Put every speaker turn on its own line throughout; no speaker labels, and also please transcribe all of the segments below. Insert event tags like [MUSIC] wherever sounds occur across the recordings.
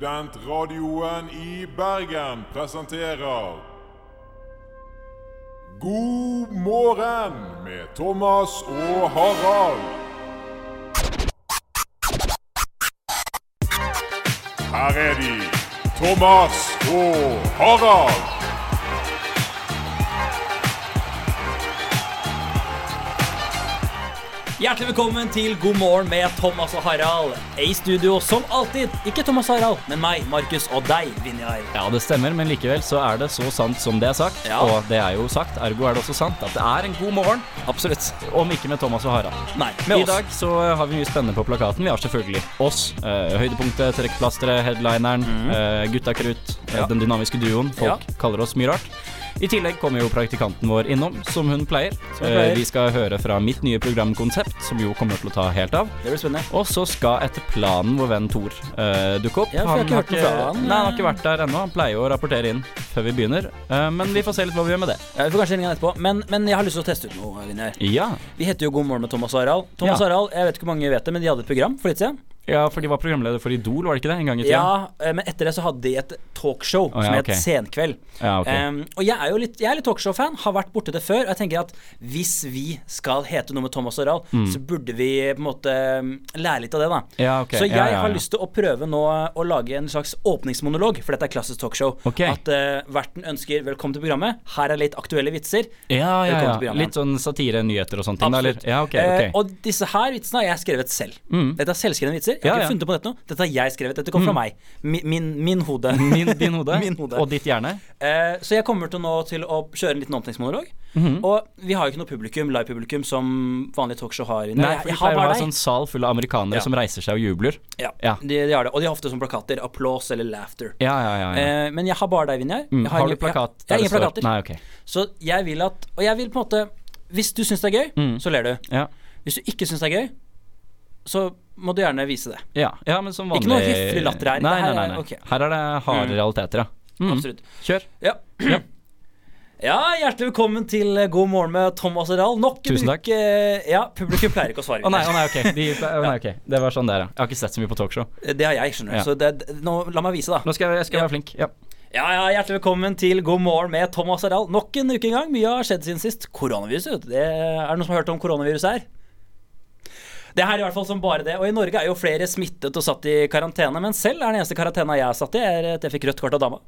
Studentradioen i Bergen presenterer God morgen med Thomas og Harald. Her er de, Thomas og Harald.
Hjertelig velkommen til God morgen med Thomas og Harald. I studio som alltid, ikke Thomas og Harald, men meg, Markus og deg, Vinjar.
Ja, det stemmer, men likevel så er det så sant som det er sagt.
Ja.
Og det er jo sagt, ergo er det også sant at det er en god morgen. Absolutt. Om ikke med Thomas og Harald.
Nei,
I
med oss.
dag så har vi mye spennende på plakaten. Vi har selvfølgelig oss. eh, høydepunktet, trekkplasteret, headlineren, eh, gutta krutt, eh,
Mhm. Ja.
den dynamiske duoen. Folk
Ja.
kaller oss mye rart. I tillegg kommer jo praktikanten vår innom, som hun pleier.
Som hun pleier.
Eh, vi skal høre fra mitt nye programkonsept, som jo kommer til å ta helt av.
Det blir spennende.
Og så skal etter planen vår venn Thor eh, dukke opp.
Ja, for jeg har ikke hørt noe fra han.
Nei, han har ikke vært der ennå. Han pleier jo å rapportere inn før vi begynner. Eh, men vi får se litt hva vi gjør med det.
Ja, vi får kanskje ringe han etterpå, men, men jeg har lyst til å teste ut noe, Vinjar.
Ja,
Vi heter jo God morgen med Thomas og Harald. Thomas og
Ja.
Harald, jeg vet ikke hvor mange vet det, men de hadde et program for litt siden.
ja for de var programleder for Idol, var det ikke det? En gang i tida?
Ja, eh, men etter det så hadde de et talkshow
Å, ja,
som het
ok.
Senkveld.
Ja, ok.
Em, og jeg er jo litt, jeg er litt talkshow-fan, har vært borti det før. Og jeg tenker at hvis vi skal hete noe med Thomas og Harald,
Mm.
så burde vi på en måte em, lære litt av det, da.
Ja, ok.
Så jeg
Ja, ja,
har
ja.
lyst til å prøve nå å lage en slags åpningsmonolog, for dette er klassisk talkshow.
Ok.
At eh, verten ønsker 'velkommen til programmet', her er litt aktuelle vitser.
ja, ja,
Velkommen
ja.
til programmet.
Litt sånn satire, nyheter og sånne ting, da, eller?
Absolutt.
Ja, ok,
Eh,
ok.
og disse her vitsene har jeg skrevet selv. Dette er selvskrevne vitser. Jeg har
Ja,
ikke
ja. Mm.
funnet på dette nå. Dette har jeg skrevet. Dette kom fra meg. Min, min, min hode.
[LAUGHS] Min, din hode,
Min hode.
og ditt hjerne.
[LAUGHS] Eh, så jeg kommer til nå til å kjøre en liten åpningsmonolog.
Mm-hmm.
Og vi har jo ikke noe publikum, live-publikum som vanlige talkshow har. Nei,
Nei,
jeg,
for de
jeg har
pleier å
bare
ha
deg.
sånn sal full av amerikanere
Ja.
som reiser seg og jubler.
Ja,
Ja.
De, de har det. Og de har ofte sånne plakater. Applaus eller laughter.
Ja, ja, ja. ja.
Eh, men jeg har bare deg, Vinjar.
Mm,
Jeg
har du
ingen-
plakat?
Jeg, jeg har
der
ingen
det står-
plakater.
Nei, ok.
Så jeg vil at Og jeg vil på en måte Hvis du syns det er gøy,
Mm.
så ler du.
Ja.
Hvis du ikke syns det er gøy, så må du gjerne vise det.
Ja, ja, men som vanlig
Ikke noe høflig latter her.
Nei,
Det
nei,
her
nei.
er-
nei.
ok.
Her er det harde
Mm.
realiteter, ja. Mm.
Absolutt.
Kjør.
Ja. ja, hjertelig velkommen til eh, God morgen med Thomas Harald. Nok en
Tusen takk.
uke eh, Ja, publikum pleier ikke å svare.
Å nei, å nei, ok.
[LAUGHS]
De, å nei, ok. Det var sånn der, ja. Jeg har ikke sett så mye på talkshow.
Eh, Det har jeg, skjønner du.
Ja.
Så det, det- nå, la meg vise, da.
Nå skal jeg, jeg skal
Ja.
være flink. Ja.
Ja, ja, Hjertelig velkommen til God morgen med Thomas Harald. Nok en uke en gang. Mye har skjedd siden sist. Koronaviruset, vet du. Det, er det noen som har hørt om koronaviruset her? Det her er i hvert fall som bare det. Og i Norge er jo flere smittet og satt i karantene. Men selv er den eneste karantena jeg er satt i, er at jeg fikk rødt kort av dama.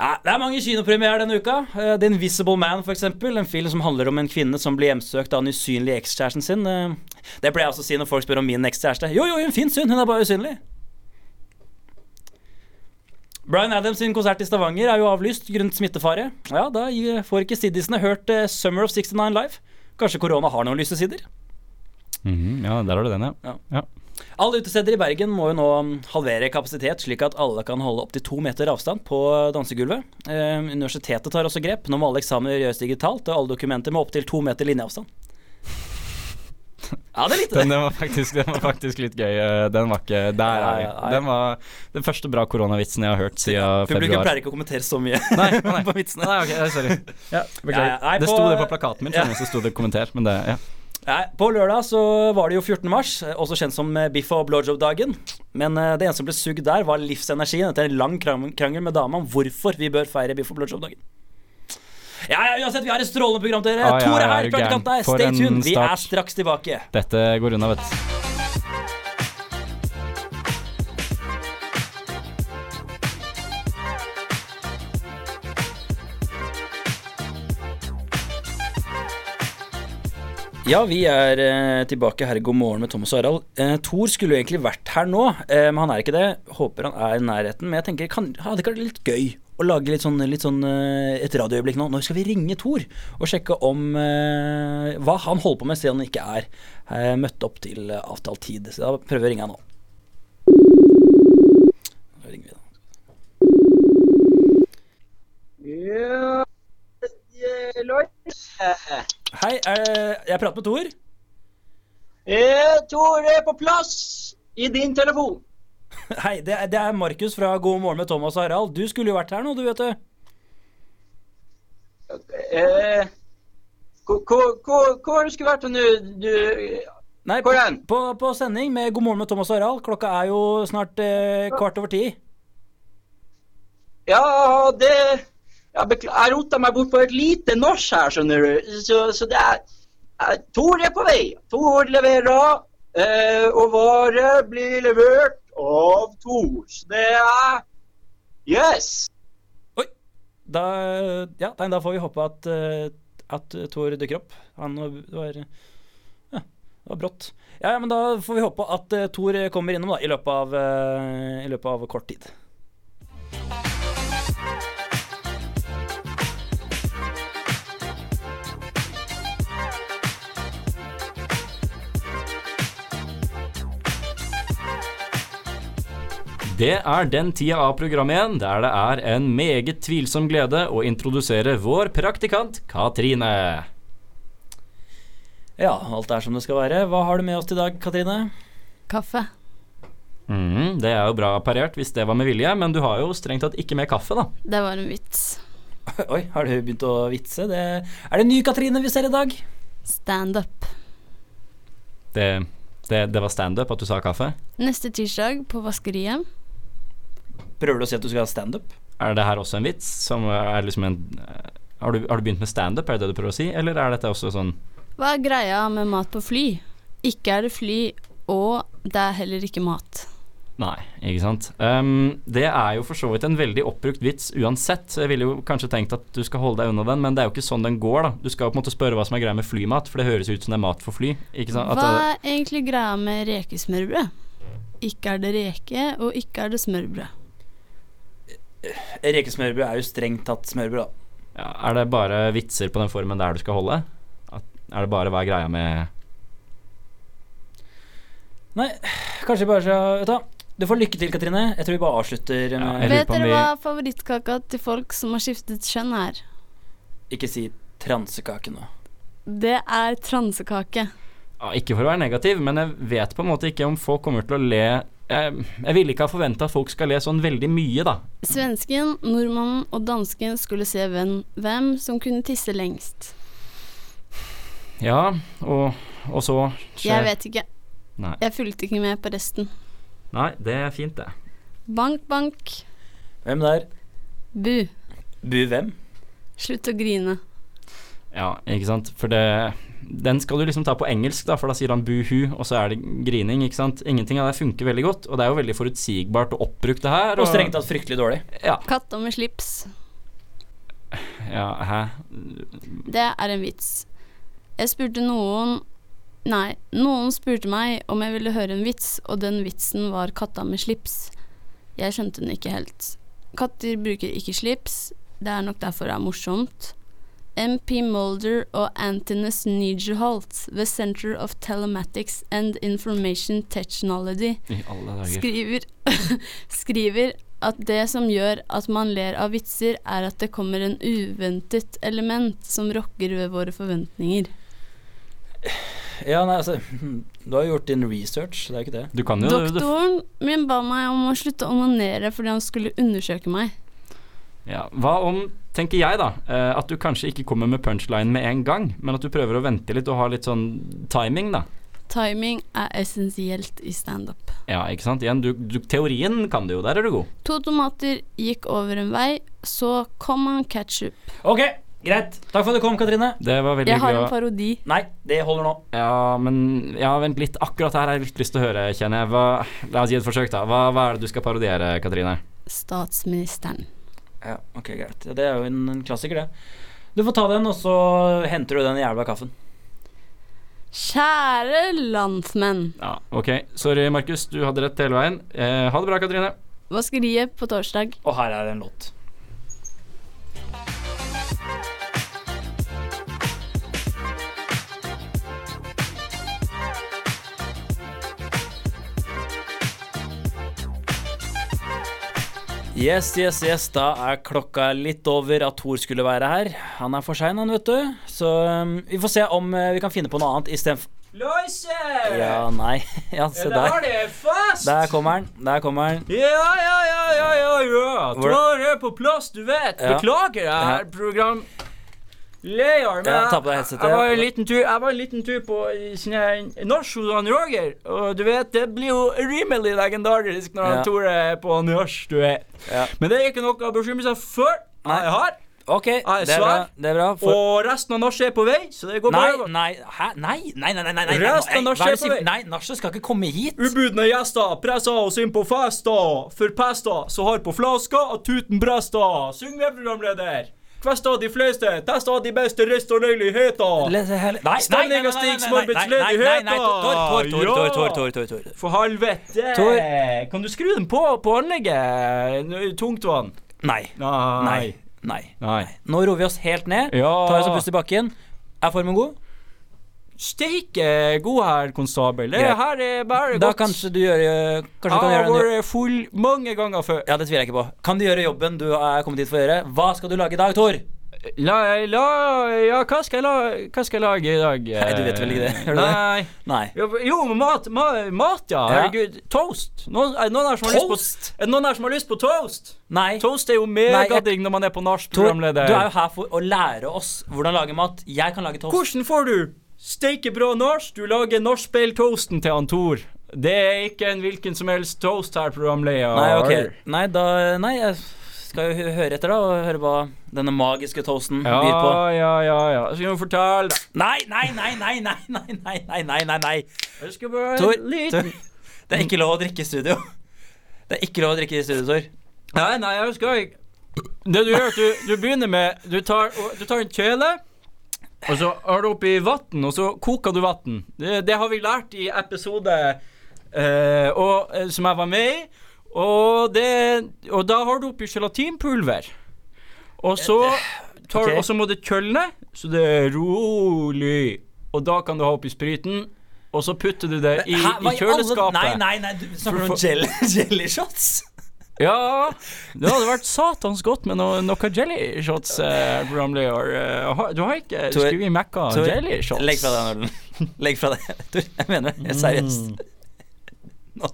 Ja, det er mange kinopremierer denne uka. Eh, The Invisible Man, f.eks. En film som handler om en kvinne som blir hjemsøkt av den usynlige ekskjæresten sin. Eh, Det pleier jeg også å si når folk spør om min ekskjæreste. Jo, jo, hun fins, hun. Hun er bare usynlig. Bryan Adams sin konsert i Stavanger er jo avlyst grunnet smittefare. Ja, da gi- får ikke siddisene hørt eh, Summer of 69 live. Kanskje korona har noen lyse sider?
Mhm, ja, der har du den,
Ja.
ja. ja.
Alle utesteder i Bergen må jo nå mm, halvere kapasitet, slik at alle kan holde opptil to meter avstand på dansegulvet. Eh, universitetet tar også grep. Nå må alle eksamener gjøres digitalt, og alle dokumenter må opptil to meter linjeavstand. Ja, det er litt
Den, den, var faktisk, den var faktisk litt gøy. eh, Den var ikke Der er vi.
Nei, nei.
Den var den første bra koronavitsen jeg har hørt siden
[LAUGHS] Publikum
februar.
pleier ikke å kommentere så mye
Nei,
[LAUGHS]
å nei.
på vitsene.
nei, ok, sorry. Ja, beklager.
Ja, ja, nei,
det
på-
sto det på plakaten min,
Ja.
skjønner du, så sto det kommenter, men det ja.
Nei, På lørdag så var det jo 14. mars, også kjent som eh, biff og blowjob-dagen. Men eh, det eneste som ble sugd der, var livsenergien etter en lang krang- krangel med dama om hvorfor vi bør feire biff og blowjob-dagen. Ja, ja, uansett, vi har et strålende program til dere.
Ah, ja,
Tore
ja,
her,
er du
praktikant
gæren?
deg.
For
Stay
en
tuned. Vi
start.
er straks tilbake.
Dette går unna, vet du.
Ja, vi er eh, tilbake her i God morgen med Thomas og Harald. Eh, Thor skulle jo egentlig vært her nå, eh, men han er ikke det. Håper han er i nærheten. Men jeg tenker, kan, hadde ikke vært litt gøy å lage litt sånn, litt sånn eh, et radioøyeblikk nå? Når skal vi ringe Thor og sjekke om eh, hva han holder på med, siden han ikke er eh, møtt opp til eh, avtalt tid? Så da prøver vi å ringe han nå. Da ringer vi, da.
Ja, eh, Lars.
Hei, eh, jeg prater med Thor. [LAUGHS]
Eh, Tore er på plass i din telefon.
Hei, det er, det er Markus fra God morgen med Thomas og Harald. Du skulle jo vært her nå, du, vet du.
Eh, hvor- hvor hvor- hvor har du skulle vært nå? Du,
Nei, på,
Hvor er den?
på, på sending med God morgen med Thomas og Harald. Klokka er jo snart eh, kvart over ti.
Ja, det Jeg, bekl- jeg rota meg bort på et lite norsk her, skjønner du. Så, så det er eh, Tor er på vei. Tor leverer, eh, og varer blir levert av Tor. Så det er Yes!
Oi! Da, ja, nei, da får vi håpe at, eh, at Thor dukker opp. Han var- det var, ja, det var brått. Ja, ja, men da får vi håpe at uh, Thor kommer innom da, i løpet av, eh, i løpet av kort tid.
Det er den tida av programmet igjen der det er en meget tvilsom glede å introdusere vår praktikant Katrine.
Ja, alt er som det skal være. Hva har du med oss til i dag, Katrine?
Kaffe.
Mm, det er jo bra parert hvis det var med vilje, men du har jo strengt tatt ikke med kaffe, da.
Det var en vits.
[LAUGHS] Oi, har du begynt å vitse? Det, er det en ny Katrine vi ser i dag?
Standup.
Det, det, det var standup at du sa kaffe?
Neste tirsdag på Vaskeriet.
Prøver du å si at du skal ha standup?
Er det her også en vits? Som er liksom en har du, har du begynt med standup, er det det du prøver å si, eller er dette også sånn
Hva er greia med mat på fly? Ikke er det fly, og det er heller ikke mat.
Nei, ikke sant. Ehm, det er jo for så vidt en veldig oppbrukt vits uansett. så Jeg ville jo kanskje tenkt at du skal holde deg unna den, men det er jo ikke sånn den går, da. Du skal jo på en måte spørre hva som er greia med flymat, for det høres ut som det er mat for fly. Ikke sant? At
Hva
det-
er egentlig greia med rekesmørbrød? Ikke er det reke, og ikke er det smørbrød.
Rekesmørbrød er jo strengt tatt smørbrød, da.
ja, er det bare vitser på den formen der du skal holde? At, er det bare hva er greia med
Nei, kanskje vi bare skal Vet du hva, du får lykke til, Katrine. Jeg tror vi bare avslutter eh,
Ja,
med
jeg lurer
Vet
på om
dere
vi-
hva favorittkaka til folk som har skiftet kjønn er?
Ikke si transekake nå.
Det er transekake.
ja, Ikke for å være negativ, men jeg vet på en måte ikke om folk kommer til å le Jeg, jeg ville ikke ha forventa at folk skal le sånn veldig mye, da.
Svensken, nordmannen og dansken skulle se hvem, hvem som kunne tisse lengst.
Ja, og, og så
Jeg vet ikke.
Nei.
Jeg fulgte ikke med på resten.
Nei, det er fint, det.
Bank, bank.
Hvem der?
Bu.
Bu hvem?
Slutt å grine.
Ja, ikke sant. For det Den skal du liksom ta på engelsk, da, for da sier han buhu, og så er det grining, ikke sant. Ingenting av det funker veldig godt, og det er jo veldig forutsigbart og oppbrukt, det her.
Og strengt tatt fryktelig dårlig.
Ja,
Katta med slips.
ja, hæ.
Det er en vits. Jeg spurte noen Nei, noen spurte meg om jeg ville høre en vits, og den vitsen var katta med slips. Jeg skjønte den ikke helt. Katter bruker ikke slips. Det er nok derfor det er morsomt. MP Mulder og Antinous Nigerholt ved Center of Telematics and Information Technology
I alle dager.
skriver, [LAUGHS] skriver at det som gjør at man ler av vitser, er at det kommer en uventet element som rokker ved våre forventninger.
Ja, nei, altså [LAUGHS] Du har jo gjort din research, det er jo ikke det.
Du kan jo du,
Doktoren min ba meg om å slutte å onanere fordi han skulle undersøke meg.
ja. Hva om, tenker jeg da, eh, at du kanskje ikke kommer med punchline med en gang, men at du prøver å vente litt og ha litt sånn timing, da.
Timing er essensielt i standup.
Ja, ikke sant. Igjen, du, du Teorien kan du jo, der er du god.
To tomater gikk over en vei, så kom han ketsjup.
Ok, greit. Takk for at du kom, Katrine.
Det var veldig
Jeg har
hyggelig
en
å-
parodi.
Nei, det holder nå.
Ja, men ja, vent litt. Akkurat her har jeg litt lyst til å høre, kjenner jeg. Hva, la oss gi et forsøk, da. Hva, hva er det du skal parodiere, Katrine?
Statsministeren.
Ja, ok, greit. Ja, det er jo en, en klassiker, det. Du får ta den, og så henter du den jævla kaffen.
Kjære landsmenn.
Ja, ok. Sorry, Markus. Du hadde rett hele veien. Eh, ha det bra, Katrine.
Vaskeriet på torsdag.
Og her er en låt. Yes, yes, yes, da er klokka litt over at Thor skulle være her. Han er for sein, han, vet du. Så um, vi får se om eh, vi kan finne på noe annet istedenfor
Løyse!
Ja, nei. [LAUGHS] Ja, se der.
det fast!
Der kommer han. Der kommer han.
Ja, ja, ja, ja, ja, ja.
Hvor-
er på plass, du vet.
Ja.
Beklager, jeg
Ja.
program...
Leiar, men
Ja, ta
jeg,
på deg headsetet.
jeg, var en liten tur, jeg var en liten tur på eh, sånn her norsk hos han Roger, og du vet, det blir jo rimelig legendarisk når
Ja.
han Tore er på norsk, du vet.
Ja.
Men det er ikke noe å bekymre seg for.
Nei.
Jeg har,
Ok, det
Ah,
er bra.
svar?
Det er bra for...
og resten av norsk er på vei, så det går
Nei,
bra.
nei, hæ? Nei, nei, nei, nei, nei, nei, nei, nei,
Resten av
hva er det
Nasje er på
sier-
vei.
nei, Nasje skal ikke komme hit.
Ubudne gjester presser oss inn på festa, for pesta så har på flaska og tuten bresta. Syng med, programleder. Kvesta de fleste, testa de beste restaurantløyligheter.
Le- hele- Nei, nei, nei, nei,
Stemninga stiger,
nei, nei, nei, nei, nei, nei, Tor, Tor, Tor, Tor,
Ja.
Tor, Tor, Tor, Tor.
For helvete!
Tor.
Kan du skru den på på anlegget? Nå- Tungtvann.
Nei, nei, nei.
Nei.
Nå roer vi oss helt ned.
Ja.
Tar oss en pust i bakken. Er formen god?
Steike eh, god her, konstabel. Det
Greit.
her er bare
Da
godt.
kanskje du gjør eh, Kanskje du kan
Jeg
gjøre den
har
jo-
vært full mange ganger før.
Ja, det tviler jeg ikke på. Kan du gjøre jobben du er kommet hit for å gjøre? Hva skal du lage i dag, Tor?
La, la, ja, hva skal, jeg la, hva skal jeg lage i dag? Eh,
Nei, du vet vel ikke det, gjør du det?
Nei.
Nei.
Jo, Jo, men mat, ma- mat, ja.
Ja.
Herregud. Toast. Noen, er det noen her som har lyst
Toast?
på Er det noen her som har lyst på toast?
Nei.
Toast er jo
jeg-
megadigg når man er på norsk
Tor, du
programleder.
er jo her for å lære oss hvordan lage mat. Jeg kan lage toast.
Hvordan får du steike bra norsk? Du lager norskbeiltoasten til han Tor. Det er ikke en hvilken som helst toast her, programleder.
Nei, ok. Nei, da Nei, jeg skal jo hø- høre etter, da, og høre hva denne magiske toasten
Ja,
byr på.
ja, ja, ja. Så kan du fortelle deg.
Nei, nei, nei, nei, nei, nei, nei, nei, nei, nei, nei.
Jeg skal bare
Tor,
en liten
Tor, det er ikke lov å drikke i studio. Det er ikke lov å drikke i studio, Tor.
Nei, nei, jeg skal ikke Det du gjør, at du, du begynner med Du tar, og- du tar en kjele, og så har du oppi vann, og så koker du vann. Det, det har vi lært i episode eh, og, eh, som jeg var med i. Og, det, og da har du oppi gelatinpulver. Og så, tar,
Ok.
og så må det kjølne, så det er rolig. Og da kan du ha oppi spriten, og så putter du det i,
Hæ, hva
i
alle-
kjøleskapet.
Nei, nei, nei, du snakker om
For-
jelly, jelly shots?
Ja, det hadde vært satans godt med noe, noe jelly shots, eh, programleder. Eh, har- du har ikke
Tor-
skrevet Mekka
Tor,
jelly shots?
Legg fra deg den ølen. [LAUGHS] Legg fra deg. [LAUGHS] Tor, jeg mener det. Helt seriøst. [LAUGHS] Nå.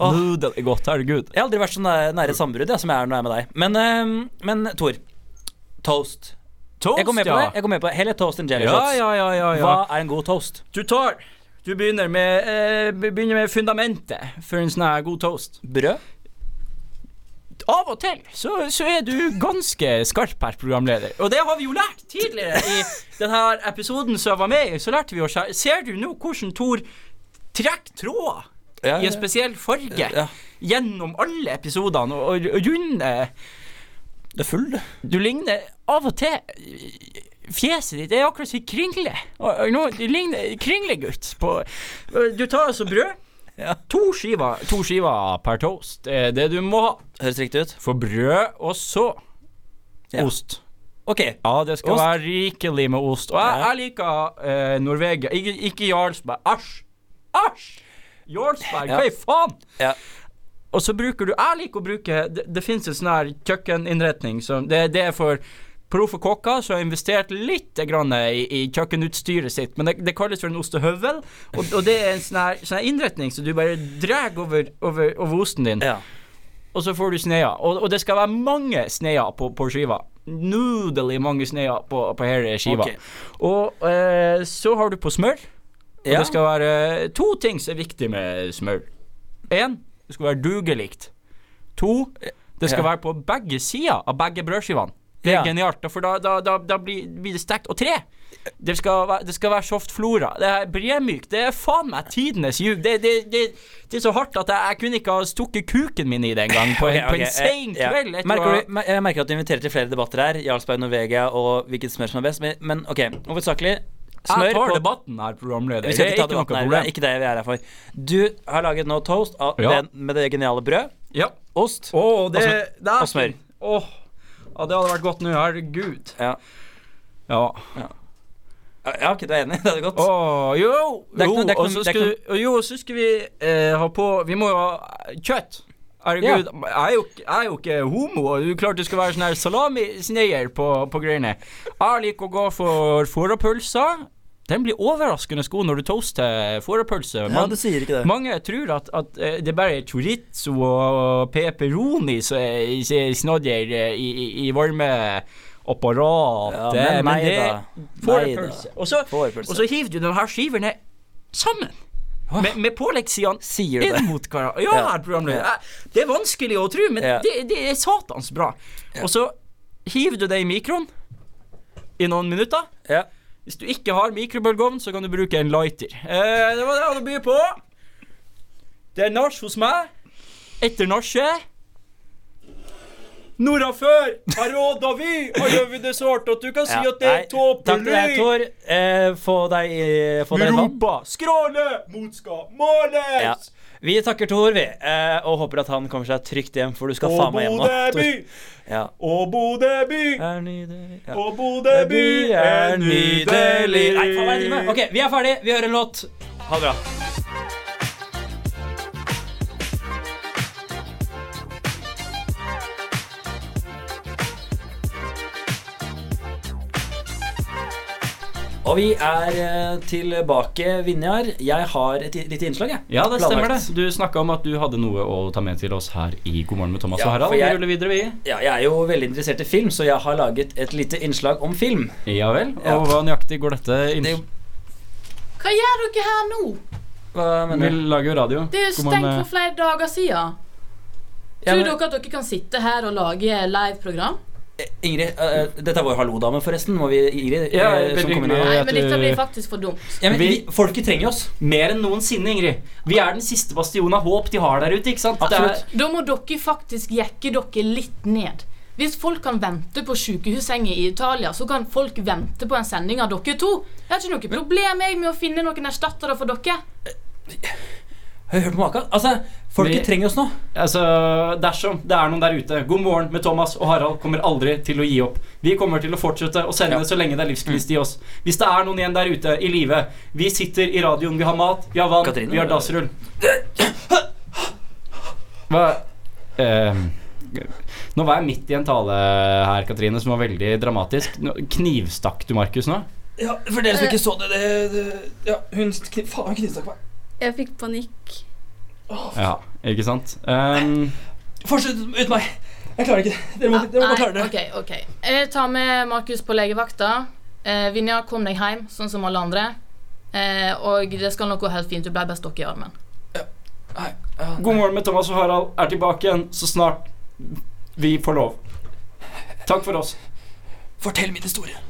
Åh.
Nudel Mm. er godt, herregud.
Jeg har aldri vært så næ- nære sammenbrudd jeg, som jeg er når jeg er med deg. Men, øhm, men Tor. Toast.
Toast,
Jeg går med på
ja.
det. jeg går med på det Heller toast enn jelly
Ja,
shots.
ja, ja, ja, ja.
Hva er en god toast?
Du tar Du begynner med, eh, be- begynner med fundamentet for en sånn her god toast.
Brød?
Av og til så, så er du ganske skarp her, programleder. Og det har vi jo lært tidligere i denne episoden som jeg var med i. Så lærte vi å skjære Ser du nå hvordan Tor trekker tråder?
Ja,
i en spesiell farge
Ja.
gjennom alle episodene og, og, og runde
Du er full, du.
Du ligner av og til Fjeset ditt er akkurat som en kringle. Og, og nå, du ligner kringlegutt på Du tar altså brød.
Ja.
To skiver, to skiver per toast
Eh,
er det du må ha.
Høres riktig ut.
For brød, og så
Ja.
ost.
Ok.
Ja, det skal
Ost.
være rikelig med ost. Og jeg,
Ja.
jeg liker eh, Norvegia. Ikke, ikke Jarlsberg. Æsj! Æsj! Jarlsberg, hva i faen?
Ja.
Og så bruker du Jeg liker å bruke Det, det fins en sånn her kjøkkeninnretning som det, det er for proffe kokker som har investert litt grann i, i kjøkkenutstyret sitt, men det, det kalles for en ostehøvel, og, og det er en sånn her, sånn her innretning som du bare drar over, over, over osten din.
Ja.
Og så får du sneer. Og, og det skal være mange sneer på, på skiva. Nudelig mange sneer på, på hele skiva.
Ok.
Og eh, så har du på smør. Og
Ja.
det skal være eh, to ting som er viktig med smør. Én, det skal være dugelikt. To, det skal
Ja.
være på begge sider av begge brødskivene. Det er
Ja.
genialt, for da, da, da, da blir, blir det stekt. Og tre, det skal, være- det skal være soft flora. Det er bremyk. Det er faen meg tidenes ljug. Det, det, det, det er så hardt at jeg, jeg kunne ikke ha stukket kuken min i det engang på, en-
Ok,
på
ok,
en sein
eh, [LAUGHS] ja.
kveld. etter
merker
å-
du, mer- jeg merker at du inviterer til flere debatter her. Jarlsberg, Norvegia og hvilket smør som er best. Men, men ok, hovedsakelig smør
jeg tar
på
debatten her, programleder.
Vi skal
Det
ikke
er
ta
ikke noe
debatten her. Det
problem.
er ikke det vi er her for. Du har laget nå toast av,
Ja.
den- med det geniale brød.
Ja.
Ost.
Å, det,
Og
det er
og smør.
Åh, ja, det hadde vært godt nå. Herregud.
Ja.
Ja.
ja, ok, du er enig. [LAUGHS] Det er godt.
Åh, jo,
Det er ikke
jo,
noe- det er ikke
og
noe- det
så
er ikke
skulle, og jo, og så skulle vi eh, ha på Vi må jo ha kjøtt. Herregud, jeg, er jo, ikke- jeg er jo ikke homo. og Det er klart det skal være sånn her salamisneier på, på greiene. Jeg liker å gå for fårepølser. Den blir overraskende god når du toaster fårepølse.
Ja,
Man-
du sier ikke det.
mange tror at, at eh, det bare er chorizo og pepperoni som er som er snadder eh, i, i, i varme apparat.
Ja,
det,
men nei
det
da.
får
Nei
du
da.
pølse. Og så,
Får pølse.
og så hiver du de her skivene sammen.
Åh.
Med, med påleggssidene
Sier du
inn
det?
mot hverandre. Ja,
Ja.
herr programleder.
Ja.
jeg- Eh, Det er vanskelig å tro, men
Ja.
det, det er satans bra. Og så hiver du det i mikroen i noen minutter.
Ja.
Hvis du ikke har mikrobølgeovn, så kan du bruke en lighter. Eh, det var det jeg hadde å by på. Det er nach hos meg. Etter nachet Nora før har råd av vi, og gjør vi det sårt at du kan si at det er
Takk til deg,
tåpelig.
Tor. Eh, få deg, eh, få deg vann.
Europa, skråle, mot skal måles.
Ja. Vi takker Tor, vi, eh, og håper at han kommer seg trygt hjem, for du skal
Og
faen meg hjem nå.
Bodø by,
Tor. Ja.
og Bodø by,
Er nydelig. Ja.
og Bodø by er nydelig.
Nei, faen hva er det jeg driver med? Ok, vi er ferdige. Vi hører en låt. Ha det bra. Og vi er eh, tilbake, Vinjar. Jeg har et i- lite innslag, jeg.
Ja, det stemmer det.
Planlagt.
Du snakka om at du hadde noe å ta med til oss her i God morgen med Thomas
Ja,
og Harald.
for jeg-
Vi ruller videre, vi.
Ja, jeg er jo veldig interessert i film, så jeg har laget et lite innslag om film.
Ja vel. Og
Ja.
hva nøyaktig går dette inn?
Det er jo-
Hva gjør dere her nå?
Hva
Vi
mener du?
lager jo radio.
Det er jo
God morgen, eh,
stengt for flere dager siden.
Ja,
Tror
men-
dere at dere kan sitte her og lage liveprogram?
Ingrid, eh, dette er vår hallo-dame, forresten. Må vi, Ingrid, eh,
Ja, veldig
som kom inn her.
hyggelig.
Nei,
at
men
du-
dette blir faktisk for dumt.
Ja, men
Vi-
vi, folket trenger oss.
Mer enn noensinne, Ingrid. Vi er den siste bastion av håp de har der ute. ikke sant? Det er-
Absolutt.
Da må dere faktisk jekke dere litt ned. Hvis folk kan vente på sykehussenger i Italia, så kan folk vente på en sending av dere to. Jeg har ikke noe problem jeg med å finne noen erstattere for dere.
Hør hør på maka. Altså, folket
Vi-
trenger oss nå.
Altså, Dersom det er noen der ute God morgen med Thomas og Harald kommer aldri til å gi opp. Vi kommer til å fortsette å sende
Ja. Mm.
så lenge det er livsgnist i oss. Hvis det er noen igjen der ute i live Vi sitter i radioen, vi har mat, vi har vann,
Katrine?
vi har dassrull. Hva eh, Nå var jeg midt i en tale her, Katrine, som var veldig dramatisk. Nå- Knivstakk du Markus nå?
Ja, For dere som ikke så det, det, det Ja, hun kni- Faen, hun knivstakk meg.
Jeg fikk panikk.
Ja, ikke sant? Um,
Fortsett ut meg. Jeg klarer ikke det. Dere må, dere må bare klare det.
Ah, ok, ok. Jeg tar med Markus på legevakta. Eh, Vinja, kom deg hjem, sånn som alle andre. Eh, og det skal nok gå helt fint. Du ble bare stokk i armen.
Nei, ja.
God morgen med Thomas og Harald er tilbake igjen så snart vi får lov. Takk for oss.
Fortell min historie.